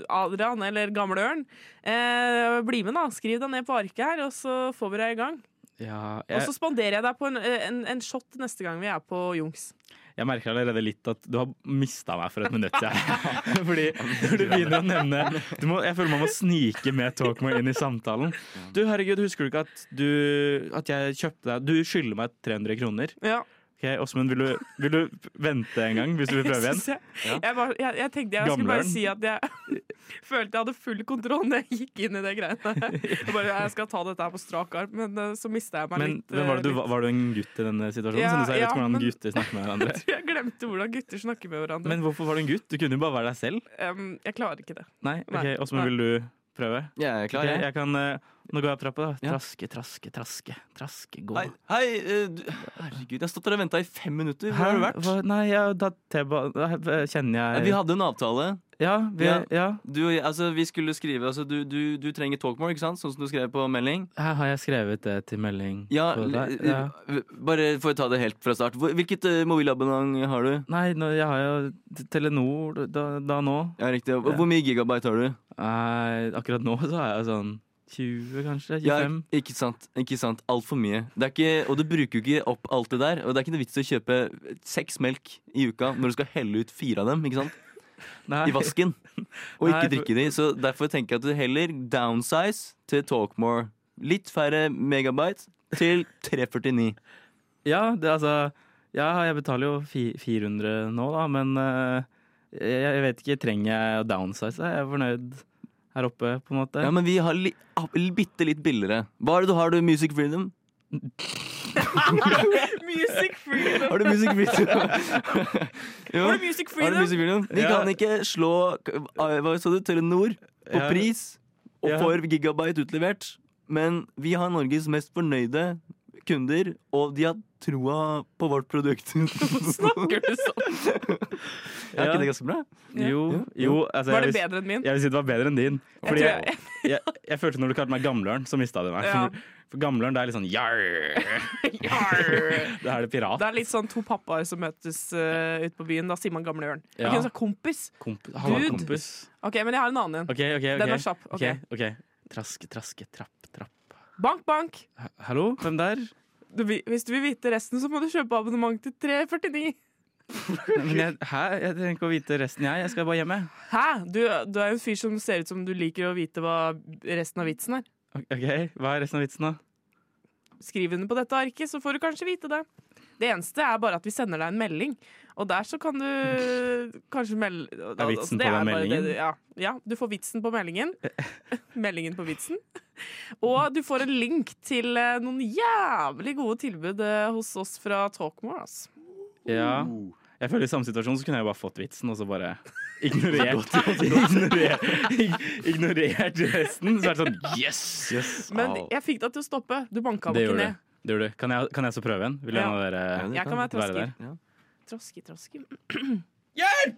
Speaker 1: Adrian, eller gamle ørn, eh, bli med, da. Skriv deg ned på arket her, og så får vi deg i gang.
Speaker 5: Ja,
Speaker 1: Og
Speaker 5: jeg,
Speaker 1: så spanderer jeg deg på en, eh, en, en shot neste gang vi er på Jungs.
Speaker 5: Jeg merker allerede litt at du har mista meg for et minutt. Jeg. Fordi når du begynner å nevne du må, Jeg føler man må snike med Talkmore inn i samtalen. Du, herregud, husker du ikke at, du, at jeg kjøpte deg Du skylder meg 300 kroner.
Speaker 1: Ja.
Speaker 5: Ok, Åsmund, vil, du- vil du vente en gang hvis du vil prøve igjen?
Speaker 1: Jeg, jeg, bare, jeg, jeg tenkte jeg
Speaker 5: Gamle
Speaker 1: skulle bare
Speaker 5: ørn.
Speaker 1: si at jeg følte jeg hadde full kontroll når jeg gikk inn i det greiene. Jeg bare, jeg skal ta dette her på strak arm, men eh, så mista jeg meg
Speaker 5: Men
Speaker 1: litt.
Speaker 5: hvem var, det du,
Speaker 1: eh,
Speaker 5: var var du en gutt i denne situasjonen?
Speaker 1: Ja,
Speaker 5: sånn at jeg vet
Speaker 1: ja,
Speaker 5: hvordan
Speaker 1: men-
Speaker 5: gutter snakker med hverandre.
Speaker 1: litt. Jeg glemte hvordan gutter snakker med hverandre.
Speaker 5: Men hvorfor var du en gutt? Du kunne jo bare være deg selv.
Speaker 1: Em, jeg klarer ikke det.
Speaker 5: Nei,
Speaker 1: Nei,
Speaker 5: ok, Åsmund,
Speaker 1: nei.
Speaker 5: vil du prøve?
Speaker 4: Jeg er klar,
Speaker 5: Ok,
Speaker 4: jeg.
Speaker 5: jeg kan, eh, nå går jeg opp trappa, da.
Speaker 4: Ja.
Speaker 5: Traske, traske, traske. Traske, gå.
Speaker 4: Hei, hei eh, du, herregud, jeg har stått der og venta i fem minutter. Hvor har du vært?
Speaker 5: Hva- Nei, jeg, da, T-ba- da, eh, kjenner
Speaker 4: Ja,
Speaker 5: jeg
Speaker 4: Vi hadde en avtale.
Speaker 5: Ja, vi,
Speaker 4: Ja.
Speaker 5: ja.
Speaker 4: Du, og jeg- altså, vi skulle skrive altså, du, du, du trenger talkmore, ikke sant? Sånn som du skrev på melding.
Speaker 5: Her har jeg skrevet det til melding.
Speaker 4: Ja,
Speaker 5: på deg.
Speaker 4: l-
Speaker 5: ja.
Speaker 4: l- Bare for å ta det helt fra start. Hvor- Hvilket eh, mobilabonnement har du?
Speaker 5: Nei, nå, jeg har jo Telenor da, da nå.
Speaker 4: Ja, riktig. Og Hvor mye gigabyte har du?
Speaker 5: Nei, akkurat nå så har jeg sånn 20, kanskje?
Speaker 4: Ja,
Speaker 5: 25?
Speaker 4: ikke sant. ikke sant, Altfor mye. Det er ikke, og du bruker jo ikke opp alt det der. Og det er ikke noe vits i å kjøpe seks melk i uka når du skal helle ut fire av dem ikke sant?
Speaker 5: Nei.
Speaker 4: i vasken. Og
Speaker 5: Nei,
Speaker 4: ikke
Speaker 5: for-
Speaker 4: drikke de. Så derfor tenker jeg at du heller downsize til talkmore. Litt færre megabyte til 349.
Speaker 5: Ja, det, altså Ja, jeg betaler jo fi- 400 nå, da, men eh, jeg, jeg vet ikke. Trenger jeg å downsize? Jeg er fornøyd her oppe, på en måte.
Speaker 4: Ja, men vi har li, ab- bitte litt billigere. Hva er det du har? du Music Freedom?
Speaker 1: Music freedom!
Speaker 4: Har du Music Freedom? jo.
Speaker 1: Har du music
Speaker 4: Har du
Speaker 1: freedom?
Speaker 4: Music Freedom? Vi
Speaker 5: Ja.
Speaker 4: kan ikke slå hva sa du, Telenor på
Speaker 5: Ja.
Speaker 4: pris og
Speaker 5: Ja.
Speaker 4: for gigabyte utlevert. Men vi har Norges mest fornøyde kunder, og de har troa på vårt produkt. er
Speaker 1: Snakker du sånn?
Speaker 4: ikke det ganske bra?
Speaker 5: Jo, jo altså,
Speaker 1: Var det
Speaker 5: jeg,
Speaker 1: bedre enn min?
Speaker 5: vil- jeg vil si det var bedre enn din. Fordi
Speaker 1: tror
Speaker 5: jeg, jeg, jeg følte når du kalte meg gamleren, så mista du meg.
Speaker 1: Ja.
Speaker 5: For gamleren, det er litt sånn jarr.
Speaker 1: Arr.
Speaker 5: Da er det pirat.
Speaker 1: Det er litt sånn to pappaer som møtes eh, ute på byen. Da sier man gamle ørn.
Speaker 5: Ja.
Speaker 1: Ok, så kompis.
Speaker 5: Komp han var
Speaker 1: Dude.
Speaker 5: kompis.
Speaker 1: Ok, men jeg har en annen en.
Speaker 5: OK, OK. ok.
Speaker 1: Den var kjapp. sånn, Ok.
Speaker 5: Ok, ok. Traske, traske, trapp, trapp.
Speaker 1: Bank, bank.
Speaker 5: Ha- Hallo, hvem der?
Speaker 1: Du, vi- hvis du vil vite resten, så må du kjøpe abonnement til 349.
Speaker 5: Men jeg, hæ? Jeg trenger ikke å vite resten, jeg. Jeg skal bare hjem, jeg.
Speaker 1: Hæ? Du, du er jo en fyr som ser ut som du liker å vite hva resten av vitsen er.
Speaker 5: Ok, Hva er resten av vitsen, da?
Speaker 1: Skriv under på dette arket, så får du kanskje vite det. Det eneste er bare at vi sender deg en melding, og der så kan du kanskje melde altså,
Speaker 5: Er vitsen på den meldingen?
Speaker 1: ja. ja, du får vitsen på meldingen. meldingen på vitsen. Og du får en link til eh, noen jævlig gode tilbud eh, hos oss fra Talkmore. altså. ass.
Speaker 5: Ja. Jeg føler I samme situasjon så kunne jeg bare fått vitsen og så bare ignorert ignorert, ig- ignorert resten. Så vært sånn yes!
Speaker 1: Men jeg fikk deg til å stoppe. Du banka meg
Speaker 5: Det
Speaker 1: ikke
Speaker 5: gjorde
Speaker 1: ned.
Speaker 5: du. Det gjorde du. Kan, jeg, kan jeg så prøve en? Vil en
Speaker 1: Ja.
Speaker 5: av dere
Speaker 4: Ja, det
Speaker 1: Jeg kan være
Speaker 5: være
Speaker 1: trasker.
Speaker 5: der?
Speaker 1: Traske, traske. Hjelp!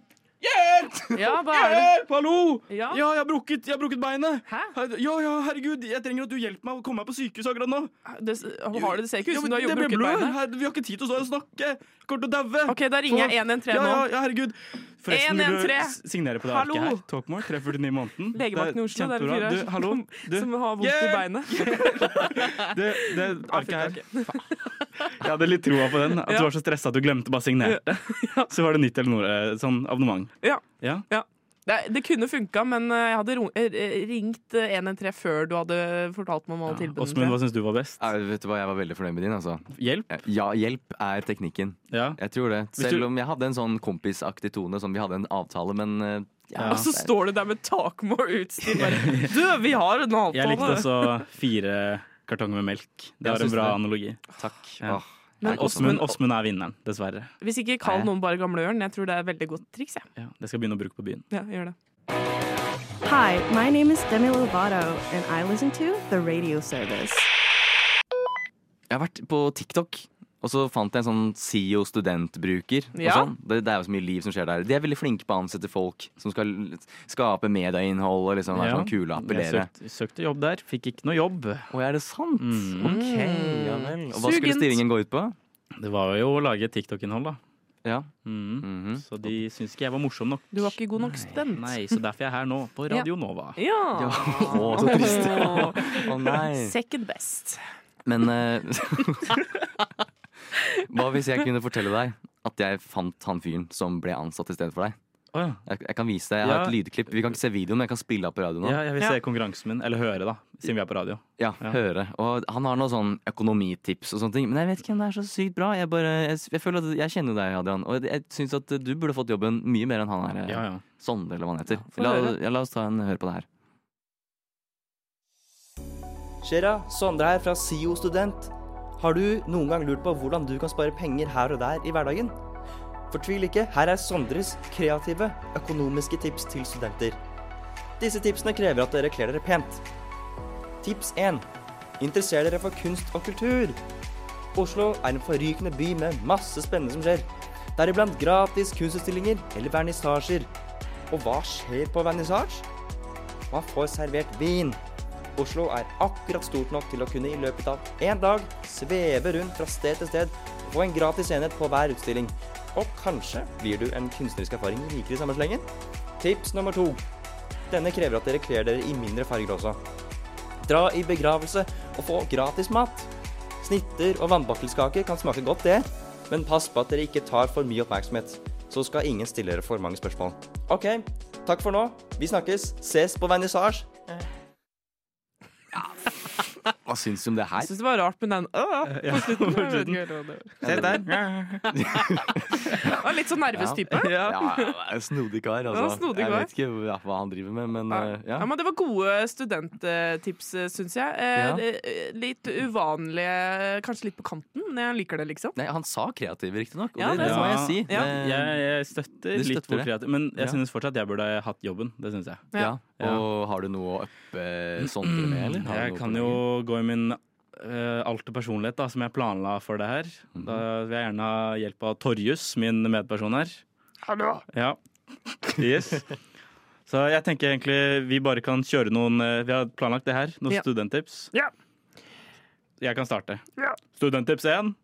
Speaker 1: Hjelp! Ja, hva er det?
Speaker 5: Hjelp! Hallo!
Speaker 1: Ja.
Speaker 5: jeg har brukket, jeg har brukket beinet!
Speaker 1: Hæ?
Speaker 5: Her- Ja, ja, herregud, jeg trenger at du hjelper meg å komme meg på sykehus akkurat nå.
Speaker 1: Det, har du, det ser ikke ut
Speaker 5: Ja,
Speaker 1: som
Speaker 5: men
Speaker 1: du har
Speaker 5: jeg ble
Speaker 1: brukket
Speaker 5: blød.
Speaker 1: beinet.
Speaker 5: Her- Vi har ikke tid til å stå her og snakke. Jeg kommer til å daue.
Speaker 1: OK, da ringer jeg 113
Speaker 5: Ja,
Speaker 1: nå.
Speaker 5: ja, ja, herregud. Forresten,
Speaker 1: 113.
Speaker 5: vil du s- signere på det
Speaker 1: Hallo.
Speaker 5: arket her? Talkmore, 349 i måneden.
Speaker 1: Legevakten i
Speaker 5: Det er
Speaker 1: Oslo. Det er en
Speaker 5: kjempebra.
Speaker 1: fyr her
Speaker 5: Du, hallo,
Speaker 1: som,
Speaker 5: du,
Speaker 1: som har vondt i
Speaker 5: Hjelp!
Speaker 1: beinet.
Speaker 5: det, det arket
Speaker 1: funker
Speaker 5: her. Faen. Jeg hadde litt troa på den. At
Speaker 1: Ja.
Speaker 5: du var så stressa at du glemte bare å signere. Så var det nytt Telenor, eh, sånn abonnement.
Speaker 1: Ja.
Speaker 5: Ja.
Speaker 1: Det, det kunne funka, men eh, jeg hadde ro- eh, ringt eh, 113 før du hadde fortalt meg om alle tilbudene.
Speaker 5: Åsmund, hva syns du var best?
Speaker 4: vet du hva, Jeg var veldig fornøyd med din. altså
Speaker 5: Hjelp?
Speaker 4: Ja, Hjelp er teknikken.
Speaker 5: Ja.
Speaker 4: Jeg tror det.
Speaker 5: Hvis du-
Speaker 4: Selv om jeg hadde en sånn kompisaktig tone. Som vi hadde en avtale, men eh, ja,
Speaker 1: Og så
Speaker 4: det er-
Speaker 1: står du der med Takmore-utstyr bare Du, vi har en
Speaker 5: Jeg likte
Speaker 1: avtale!
Speaker 5: også fire kartonger med melk. Det
Speaker 4: Ja,
Speaker 5: var
Speaker 4: syns
Speaker 5: en
Speaker 4: du
Speaker 5: bra
Speaker 4: det?
Speaker 5: analogi.
Speaker 4: Takk.
Speaker 5: Ja.
Speaker 4: Åh,
Speaker 1: Men
Speaker 4: jeg koser meg.
Speaker 5: Åsmund Åsmund er vinneren, dessverre.
Speaker 1: Hvis ikke, kall noen bare Gamleørn. Jeg tror det er et veldig godt triks. Jeg.
Speaker 5: Ja, det skal jeg begynne å bruke på byen.
Speaker 1: Ja, gjør det.
Speaker 7: Hi, my name is Demi Lovato, and I listen to the radio service.
Speaker 4: Jeg har vært på TikTok, og så fant jeg en sånn CEO studentbruker. og
Speaker 1: Ja.
Speaker 4: Sånn. Det, det er jo så mye liv som skjer der. De er veldig flinke på å ansette folk som skal skape medieinnhold og liksom være
Speaker 5: Ja.
Speaker 4: sånn kule og appellere.
Speaker 5: Jeg søkte, søkte jobb der, fikk ikke noe jobb.
Speaker 4: Å, er det sant?
Speaker 5: Mm.
Speaker 4: Ok, ja vel. Og hva skulle
Speaker 1: Sugent.
Speaker 4: stillingen gå ut på?
Speaker 5: Det var jo å lage TikTok-innhold, da.
Speaker 4: Ja.
Speaker 5: Mhm.
Speaker 4: Mhm.
Speaker 5: Så de syns ikke jeg var morsom nok.
Speaker 1: Du var ikke god nok student.
Speaker 5: Nei, så derfor er jeg her nå, på Radio Nova.
Speaker 1: Ja.
Speaker 4: Ja. Å, så trist. Å nei.
Speaker 1: Second best.
Speaker 4: Men eh, Hva hvis jeg kunne fortelle deg at jeg fant han fyren som ble ansatt i stedet for deg?
Speaker 5: Å ja.
Speaker 4: Jeg, jeg kan vise deg, jeg har
Speaker 5: Ja.
Speaker 4: et lydklipp. Vi kan ikke se videoen, men jeg kan spille av på radioen. nå.
Speaker 5: Ja, jeg vil
Speaker 1: Ja.
Speaker 5: se konkurransen min. Eller høre, da, siden vi er på radio.
Speaker 4: Ja, høre. Og han har noen sånn økonomitips og sånne ting. Men jeg vet ikke om det er så sykt bra. Jeg, bare, jeg, jeg føler at jeg kjenner jo deg, Adrian. Og jeg syns at du burde fått jobben mye mer enn han her. eh,
Speaker 5: Ja, ja.
Speaker 4: Sondre, eller hva han heter.
Speaker 1: få
Speaker 4: la,
Speaker 1: høre.
Speaker 4: ja, la oss ta en hør på det her.
Speaker 8: Skjer'a, Sondre her fra SIO Student. Har du noen gang lurt på hvordan du kan spare penger her og der i hverdagen? Fortvil ikke, her er Sondres kreative økonomiske tips til studenter. Disse tipsene krever at dere kler dere pent. Tips 1. Interesser dere for kunst og kultur. Oslo er en forrykende by med masse spennende som skjer. Deriblant gratis kunstutstillinger eller vernissasjer. Og hva skjer på vernissasj? Man får servert vin. Oslo er akkurat stort nok til å kunne i løpet av én dag sveve rundt fra sted til sted og få en gratis enhet på hver utstilling. Og kanskje blir du en kunstnerisk erfaring rikere i samme slengen? Tips nummer to. Denne krever at dere kler dere i mindre farger også. Dra i begravelse og få gratis mat. Snitter og vannbakkelskaker kan smake godt, det, men pass på at dere ikke tar for mye oppmerksomhet. Så skal ingen stille dere for mange spørsmål. OK, takk for nå. Vi snakkes. Ses på vernissasje.
Speaker 4: Hva syns du om det
Speaker 1: Jeg
Speaker 4: her?
Speaker 1: syns det var rart med den øh, på slutten. Jeg vet ikke helt hva det var.
Speaker 5: Se der.
Speaker 1: Det var Litt sånn nervøs type.
Speaker 4: Ja, ja, ja, snodig kar, altså.
Speaker 1: Ja, snodig
Speaker 4: jeg
Speaker 1: kar.
Speaker 4: vet ikke hva hva han driver med, men
Speaker 1: Nei.
Speaker 4: eh, ja.
Speaker 1: Ja, men Det var gode studenttips, syns jeg. Eh,
Speaker 4: Ja.
Speaker 1: det- eh, Litt uvanlige, kanskje litt på kanten, men jeg liker det, liksom.
Speaker 4: Nei, han sa kreativ, riktignok, og
Speaker 1: Ja,
Speaker 4: det,
Speaker 1: det
Speaker 4: må
Speaker 5: sa
Speaker 4: jeg si. Eh,
Speaker 1: han. Ja.
Speaker 4: Det-
Speaker 5: Jeg, jeg støtter
Speaker 4: Du
Speaker 5: litt
Speaker 4: støtter
Speaker 5: hvor
Speaker 4: det?
Speaker 5: kreativ Men jeg
Speaker 4: Ja.
Speaker 5: synes fortsatt jeg burde hatt jobben. Det synes jeg.
Speaker 4: Ja.
Speaker 5: Ja.
Speaker 4: Og har du noe å uppe Sondre med, eller? Har du
Speaker 5: Mm, Jeg
Speaker 4: noe
Speaker 5: kan
Speaker 4: på
Speaker 5: jo
Speaker 4: lager?
Speaker 5: gå i min eh, alt og personlighet da, som jeg planla for det her.
Speaker 4: Mhm.
Speaker 5: Da vil jeg gjerne ha hjelp av Torjus, min medperson her. Hallo. Ja. Yes. Så jeg tenker egentlig vi bare kan kjøre noen eh, Vi har planlagt det her, noen
Speaker 1: Ja.
Speaker 5: studenttips.
Speaker 1: Ja.
Speaker 5: Jeg kan starte. Studenttips 1.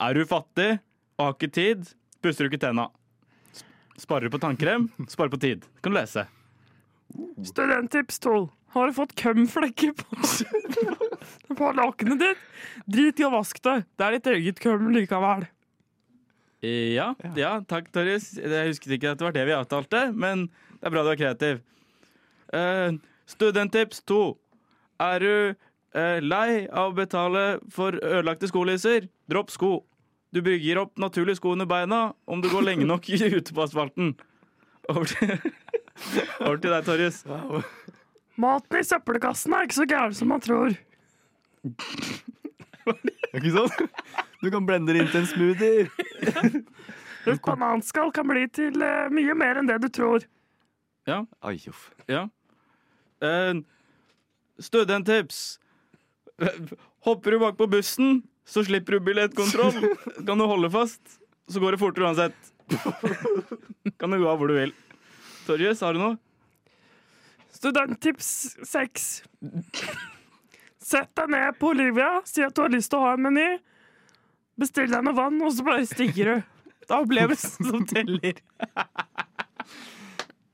Speaker 5: Er du fattig og har ikke tid, puster du ikke tenna. Sparer du på tannkrem, sparer på tid. Kan du lese.
Speaker 4: Mm.
Speaker 1: Studenttips 12. Har du fått kømflekker på, på lakenet ditt? Drit i å vaske deg. Det er ditt eget køm likevel.
Speaker 5: Ja, ja. takk, Torjus. Jeg husket ikke at det var det vi avtalte, men det er bra du er kreativ. Eh, studenttips to. Er du eh, lei av å betale for ødelagte skolisser? Dropp sko. Du bygger opp naturlig sko under beina om du går lenge nok ute på asfalten. Over til, over til deg, Torjus.
Speaker 1: Maten i søppelkassen er ikke så gæren som man tror.
Speaker 4: Ikke sant? Du kan blende det inn til en smoothie.
Speaker 1: Et bananskall kan bli til mye mer enn det du tror.
Speaker 4: Ai, uff.
Speaker 5: Ja. Eh, studenttips. Hopper du bakpå bussen, så slipper du billettkontroll. Kan du holde fast, så går det fortere uansett. Kan du gå av hvor du vil. Torjus, har du noe?
Speaker 1: Studenttips 6. Sett deg ned på Olivia, si at du har lyst til å ha en meny. Bestill deg noe vann, og så bare stikker du. Det er opplevelsen som teller.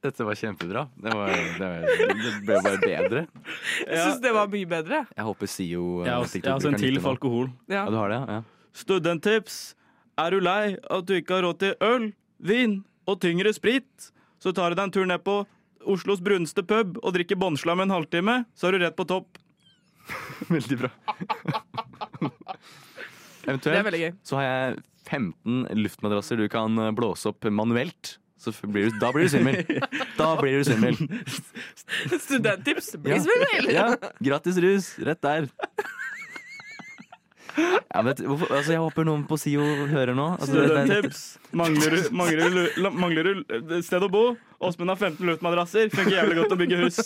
Speaker 4: Dette var kjempebra. Det, var, det, var, det ble bare bedre.
Speaker 1: Jeg syns det var mye bedre.
Speaker 4: Jeg håper SIO eh,
Speaker 5: Jeg har også, altså, jeg har også en
Speaker 4: TikTok-brukeren
Speaker 5: til for
Speaker 4: likte det.
Speaker 5: alkohol.
Speaker 1: Ja.
Speaker 4: Ja, du har det, ja?
Speaker 5: Studenttips. Er du lei at du ikke har råd til øl, vin og tyngre sprit, så tar du deg en tur ned på Oslos bruneste pub og drikker båndslam en halvtime, så er du rett på topp.
Speaker 4: Veldig bra.
Speaker 1: Det er
Speaker 4: Eventuelt
Speaker 1: veldig gøy.
Speaker 4: så har jeg 15 luftmadrasser du kan eh, blåse opp manuelt. Så f- blir du, da blir du svimmel. Da blir du svimmel.
Speaker 1: Studenttips
Speaker 4: Ja.
Speaker 1: blir svimmel!
Speaker 4: Ja, gratis rus, rett der. Ja, vet, hvorfor, altså, jeg håper noen på SIO hører nå. Altså, det- det- dette-
Speaker 5: Studenttips. Mangler du, mangler, du, lu- la- mangler du sted å bo? Åsmund har 15 luftmadrasser. Funker jævlig godt å bygge hus.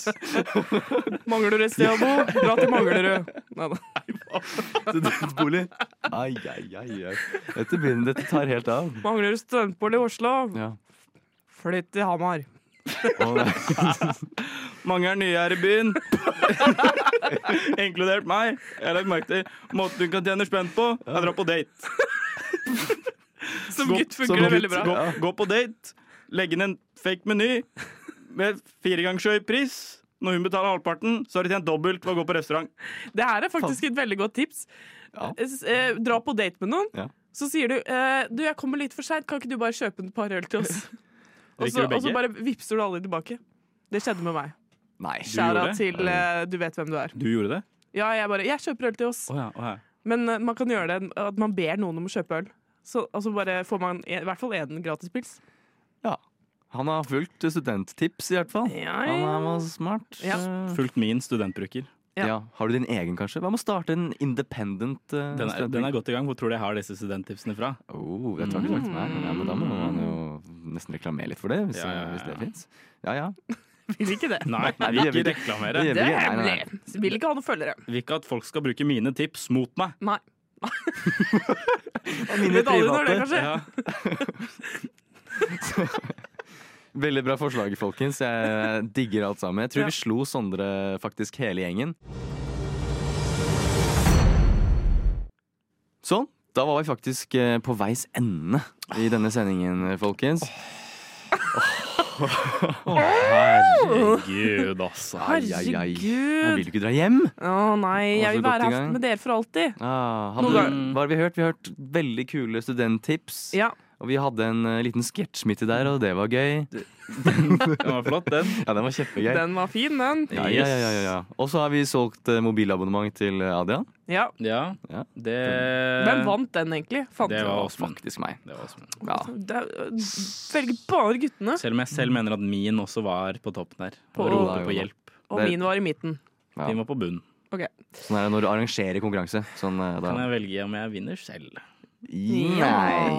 Speaker 1: Mangler du et sted å bo, dra til Manglerud. Neida.
Speaker 4: Studentbolig. Ai, ai, ai, ai. Dette, begynner, dette tar helt av.
Speaker 1: Mangler du studentbolig i Oslo,
Speaker 4: Ja.
Speaker 1: flytt til Hamar.
Speaker 4: Og,
Speaker 5: Mange er nye her i byen. Inkludert meg. Jeg har lagt merke til måten du kan tjene spenn på, er å dra på date.
Speaker 1: Som
Speaker 5: Gå-
Speaker 1: gutt
Speaker 5: som
Speaker 1: funker det
Speaker 5: gutt,
Speaker 1: veldig bra.
Speaker 5: Gå, gå på date, legge inn en fake meny med fire ganger så høy pris. Når hun betaler halvparten, så har de tjent dobbelt ved å gå på restaurant.
Speaker 1: Det her er faktisk et veldig godt tips.
Speaker 4: Ja.
Speaker 1: S- eh, Dra på date med noen,
Speaker 4: Ja.
Speaker 1: så sier du eh, Du, jeg kommer litt for seint, kan ikke du bare kjøpe en par øl til oss? og,
Speaker 5: Drikker
Speaker 1: så,
Speaker 5: du
Speaker 1: og så
Speaker 5: begge?
Speaker 1: bare vipser du alle tilbake. Det skjedde med meg.
Speaker 4: nei.
Speaker 1: Skjæra
Speaker 5: gjorde det?
Speaker 1: til eh, du vet hvem du er.
Speaker 5: Du gjorde det?
Speaker 1: Ja, jeg bare Jeg kjøper øl til oss.
Speaker 5: Å ja, å ja.
Speaker 1: Men eh, man kan gjøre det at man ber noen om å kjøpe øl. Så, og så bare får man en, i hvert fall én gratispils.
Speaker 4: Ja. Han har fulgt studenttips, i hvert fall.
Speaker 1: Ja,
Speaker 4: Han
Speaker 1: ja.
Speaker 4: er- var smart.
Speaker 1: Ja.
Speaker 4: Eh,
Speaker 5: Fulgt min studentbruker.
Speaker 1: Ja.
Speaker 4: Ja. Har du din egen, kanskje? Hva med å starte en independent uh,
Speaker 5: Den er, den er godt i gang. Hvor tror du jeg har disse studenttipsene fra?
Speaker 4: Oh, dette har ikke sagt meg. Ja, men da må man jo nesten reklamere litt for det, hvis,
Speaker 5: Ja, ja, ja.
Speaker 4: hvis det fins. Ja ja.
Speaker 1: Vil ikke det.
Speaker 5: Nei,
Speaker 4: Nei,
Speaker 5: vi
Speaker 4: vi
Speaker 5: vil
Speaker 4: gjør
Speaker 5: ikke
Speaker 4: ikke
Speaker 5: reklamere.
Speaker 4: Det gjør
Speaker 1: Det er
Speaker 4: Nei, nei, nei.
Speaker 1: hemmelig. Vil ikke ha noen følgere.
Speaker 5: Vil ikke at folk skal bruke mine tips mot meg.
Speaker 1: Nei. Vet alle når det kan skje?
Speaker 5: Ja.
Speaker 4: Veldig bra forslag, folkens. Jeg digger alt sammen. Jeg tror vi slo Sondre faktisk hele gjengen. Sånn. Da var vi faktisk eh, på veis ende i denne sendingen, folkens.
Speaker 5: Herregud, altså.
Speaker 4: Ai, ai, ai. Jeg
Speaker 1: Herregud.
Speaker 4: vil ikke dra hjem.
Speaker 1: Å nei,
Speaker 4: Å, så
Speaker 1: jeg vil
Speaker 4: godt
Speaker 1: være
Speaker 4: i
Speaker 1: her
Speaker 4: gang.
Speaker 1: med dere for alltid.
Speaker 4: Ah,
Speaker 1: Noen
Speaker 4: hadde,
Speaker 1: ganger-
Speaker 4: hva har vi hørt? Vi har hørt veldig kule studenttips.
Speaker 1: Ja.
Speaker 4: Og vi hadde en eh, liten sketsj midt i der, og det var gøy.
Speaker 5: Den var flott, den.
Speaker 4: Ja, den var kjempegøy.
Speaker 1: Den var fin, den.
Speaker 4: Ja, ja, ja, ja, ja. Og så har vi solgt eh, mobilabonnement til eh, Adia.
Speaker 1: Ja.
Speaker 5: Ja,
Speaker 4: Ja.
Speaker 5: det
Speaker 1: Hvem vant den, egentlig? Fant
Speaker 5: Eh, Det
Speaker 1: du?
Speaker 5: var
Speaker 4: Og
Speaker 5: Åsmund.
Speaker 4: faktisk meg.
Speaker 5: Det var Åsmund.
Speaker 4: Ja.
Speaker 1: Det er- Velger bare guttene,
Speaker 5: Selv om jeg selv mener at min også var på toppen der.
Speaker 1: På-
Speaker 5: Og ropte på hjelp.
Speaker 1: og
Speaker 4: Det-
Speaker 1: min var i midten.
Speaker 4: Ja.
Speaker 5: Din var på bunn.
Speaker 4: Sånn er det når du arrangerer konkurranse. Sånn, eh, da.
Speaker 5: Kan jeg velge om jeg vinner selv?
Speaker 4: Nei, ja.
Speaker 1: Jeg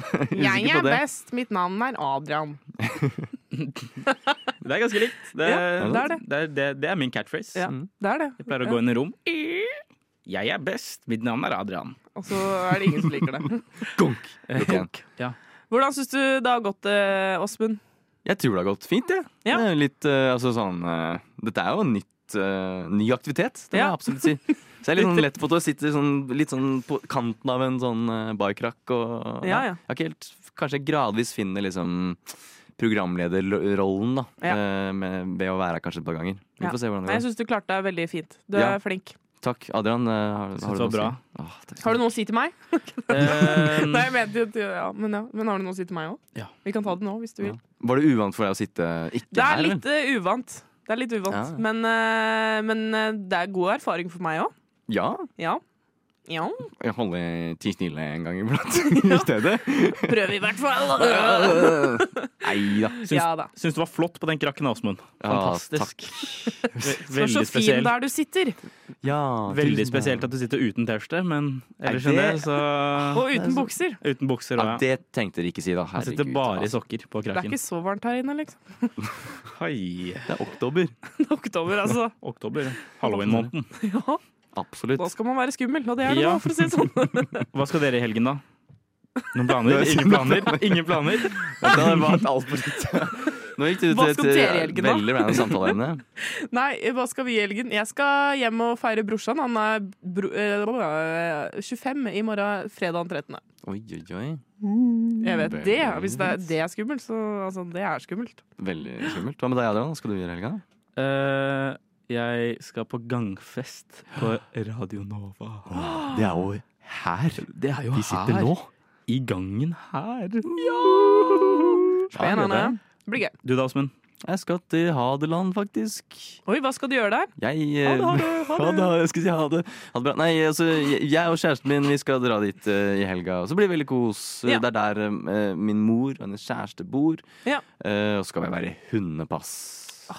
Speaker 4: Usikker
Speaker 1: er
Speaker 4: på det.
Speaker 1: best, mitt navn er Adrian.
Speaker 5: Det er ganske likt. Det,
Speaker 1: Ja, det er det.
Speaker 5: Det, er, det, det er min catchphrase.
Speaker 1: Ja,
Speaker 4: Mm.
Speaker 1: det er det.
Speaker 5: Jeg pleier å gå inn i rom. Jeg er best. Mitt navn er Adrian.
Speaker 1: Og så er det ingen som liker det.
Speaker 4: Konk.
Speaker 1: Hvordan syns du det har gått, eh, Åsmund?
Speaker 4: Jeg tror det har gått fint, jeg.
Speaker 1: Ja.
Speaker 4: Det er litt, eh, altså, sånn, eh, dette er jo en nytt, eh, ny aktivitet, det må
Speaker 1: Ja.
Speaker 4: jeg absolutt si. Så jeg er litt sånn lett på at jeg sitter sånn, litt sånn på kanten av en sånn eh, barkrakk. Og,
Speaker 1: Ja, ja.
Speaker 4: Jeg har ikke helt, kanskje jeg gradvis finner liksom, programlederrollen da,
Speaker 1: Ja.
Speaker 4: eh, med, ved å være her kanskje et par ganger. Vi
Speaker 1: Ja.
Speaker 4: får se
Speaker 1: Nei,
Speaker 4: hvordan
Speaker 1: jeg
Speaker 4: det går.
Speaker 1: syns du klarte deg veldig fint. Du
Speaker 4: Ja.
Speaker 1: er flink.
Speaker 4: Takk, Adrian. eh, Har,
Speaker 5: Synes det var
Speaker 4: noe å si? Åh, takk skal
Speaker 1: Har
Speaker 4: du
Speaker 1: du
Speaker 4: ha.
Speaker 1: noe å si til meg?
Speaker 5: Eh,
Speaker 4: Mm.
Speaker 1: Nei, jeg mente jo at- ja, men, ja. men har du noe å si til meg òg?
Speaker 5: Ja.
Speaker 1: Vi kan ta det nå, hvis du vil.
Speaker 4: Ja. Var det uvant for deg å sitte ikke
Speaker 1: Det
Speaker 4: her?
Speaker 1: er
Speaker 4: eller?
Speaker 1: litt eh, uvant. Det er litt uvant.
Speaker 4: Ja.
Speaker 1: Men, eh, men eh, det er god erfaring for meg òg.
Speaker 4: Ja.
Speaker 1: Ja. ja.
Speaker 4: Jeg holder ti snille en gang iblant i stedet.
Speaker 1: Prøv i hvert fall!
Speaker 4: Nei da.
Speaker 5: syns,
Speaker 1: Ja da.
Speaker 5: syns du var flott på den krakken, Åsmund.
Speaker 4: Ja,
Speaker 5: Fantastisk. Ve-
Speaker 1: Du er så
Speaker 5: Veldig
Speaker 1: fin
Speaker 5: spesiell.
Speaker 1: der du sitter.
Speaker 4: Ja,
Speaker 5: Veldig
Speaker 4: tusen takk.
Speaker 5: spesielt at du sitter uten T-skjorte, men ellers
Speaker 4: Nei,
Speaker 5: enn det,
Speaker 4: det-
Speaker 5: så
Speaker 1: Og uten bukser.
Speaker 5: Uten bukser
Speaker 4: Ja,
Speaker 5: og ja.
Speaker 4: det tenkte dere ikke si, da.
Speaker 5: Han sitter
Speaker 4: Herregud.
Speaker 5: bare i
Speaker 4: Altså,
Speaker 5: sokker på
Speaker 1: Det er
Speaker 5: krakken.
Speaker 1: ikke så varmt her inne, liksom.
Speaker 5: Hei.
Speaker 4: Det er oktober.
Speaker 1: Det er Oktober, altså.
Speaker 5: Oktober. Halloween-måneden.
Speaker 1: Ja,
Speaker 4: Absolutt.
Speaker 1: da skal man være skummel, og det er det
Speaker 5: Ja.
Speaker 1: nå, for å si det sånn.
Speaker 5: Hva skal dere i helgen, da? Noen planer? Ingen planer? Ingen planer?
Speaker 4: Dette har vært alt for litt. Nå gikk du
Speaker 1: Hva
Speaker 4: til
Speaker 1: skal dere i
Speaker 4: et eh,
Speaker 1: helgen, da?
Speaker 4: veldig random samtaleemne.
Speaker 1: Nei, eh, hva skal vi i helgen? Jeg skal hjem og feire brorsan. Han er bro eh, 25 i morgen, fredag den 13.
Speaker 4: Oi, oi, oi.
Speaker 1: Jeg vet det. Hvis det er, det er skummelt, så altså, det er skummelt.
Speaker 4: Veldig skummelt. Hva med deg, Adrian? Hva skal du gjøre i helga?
Speaker 5: Eh, jeg skal på gangfest på Radio Nova.
Speaker 4: Det er jo her
Speaker 5: Det er jo her. I gangen her.
Speaker 1: Spennende. Det blir gøy.
Speaker 5: Du da, Åsmund?
Speaker 4: Jeg skal til Hadeland, faktisk.
Speaker 1: Oi, hva skal du gjøre der?
Speaker 4: Jeg eh,
Speaker 1: Ha det, ha det, ha det.
Speaker 4: Jeg skal si ha det. Ha det bra. Nei, altså, jeg jeg og kjæresten min vi skal dra dit eh, i helga, og så blir det veldig kos.
Speaker 1: Ja.
Speaker 4: Det er der eh, min mor og hennes kjæreste bor.
Speaker 1: Ja. Ah,
Speaker 4: Eh, og så skal vi være hundepass,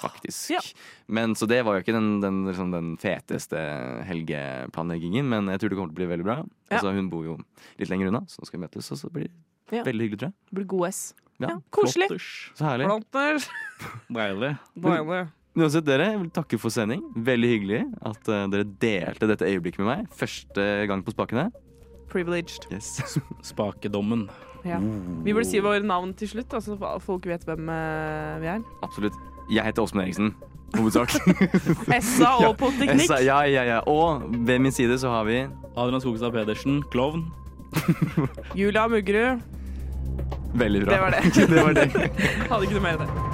Speaker 4: faktisk.
Speaker 1: ja.
Speaker 4: Men, så det var jo ikke den, den, liksom, den feteste helgeplanleggingen, men jeg tror det kommer til å bli veldig bra.
Speaker 1: Ja.
Speaker 4: Altså, hun bor jo litt lenger unna, så nå skal vi møtes, og så blir det
Speaker 1: Ja.
Speaker 4: veldig hyggelig, tror jeg.
Speaker 1: Det blir god S.
Speaker 4: Ja.
Speaker 1: Ja, koselig.
Speaker 5: Flotters.
Speaker 4: Så herlig.
Speaker 1: Planters.
Speaker 5: Deilig.
Speaker 1: Deilig.
Speaker 4: Men Uansett dere, jeg vil takke for sending. Veldig hyggelig at eh, dere delte dette øyeblikket med meg. Første gang på spakene.
Speaker 1: Privileged.
Speaker 4: Yes.
Speaker 5: Spakedommen.
Speaker 1: Ja. Vi burde si våre navn til slutt, da, så folk vet hvem eh, vi er.
Speaker 4: Absolutt. Jeg heter Åsmund Eriksen. Hovedsak.
Speaker 1: Essa og på teknikk.
Speaker 4: Essa- ja, ja, ja. Og ved min side så har vi
Speaker 5: Adrian Skogstad Pedersen, klovn.
Speaker 1: Julia Muggerud.
Speaker 4: Veldig bra.
Speaker 1: Det var det.
Speaker 4: det var det.
Speaker 1: Hadde ikke noe mer enn det.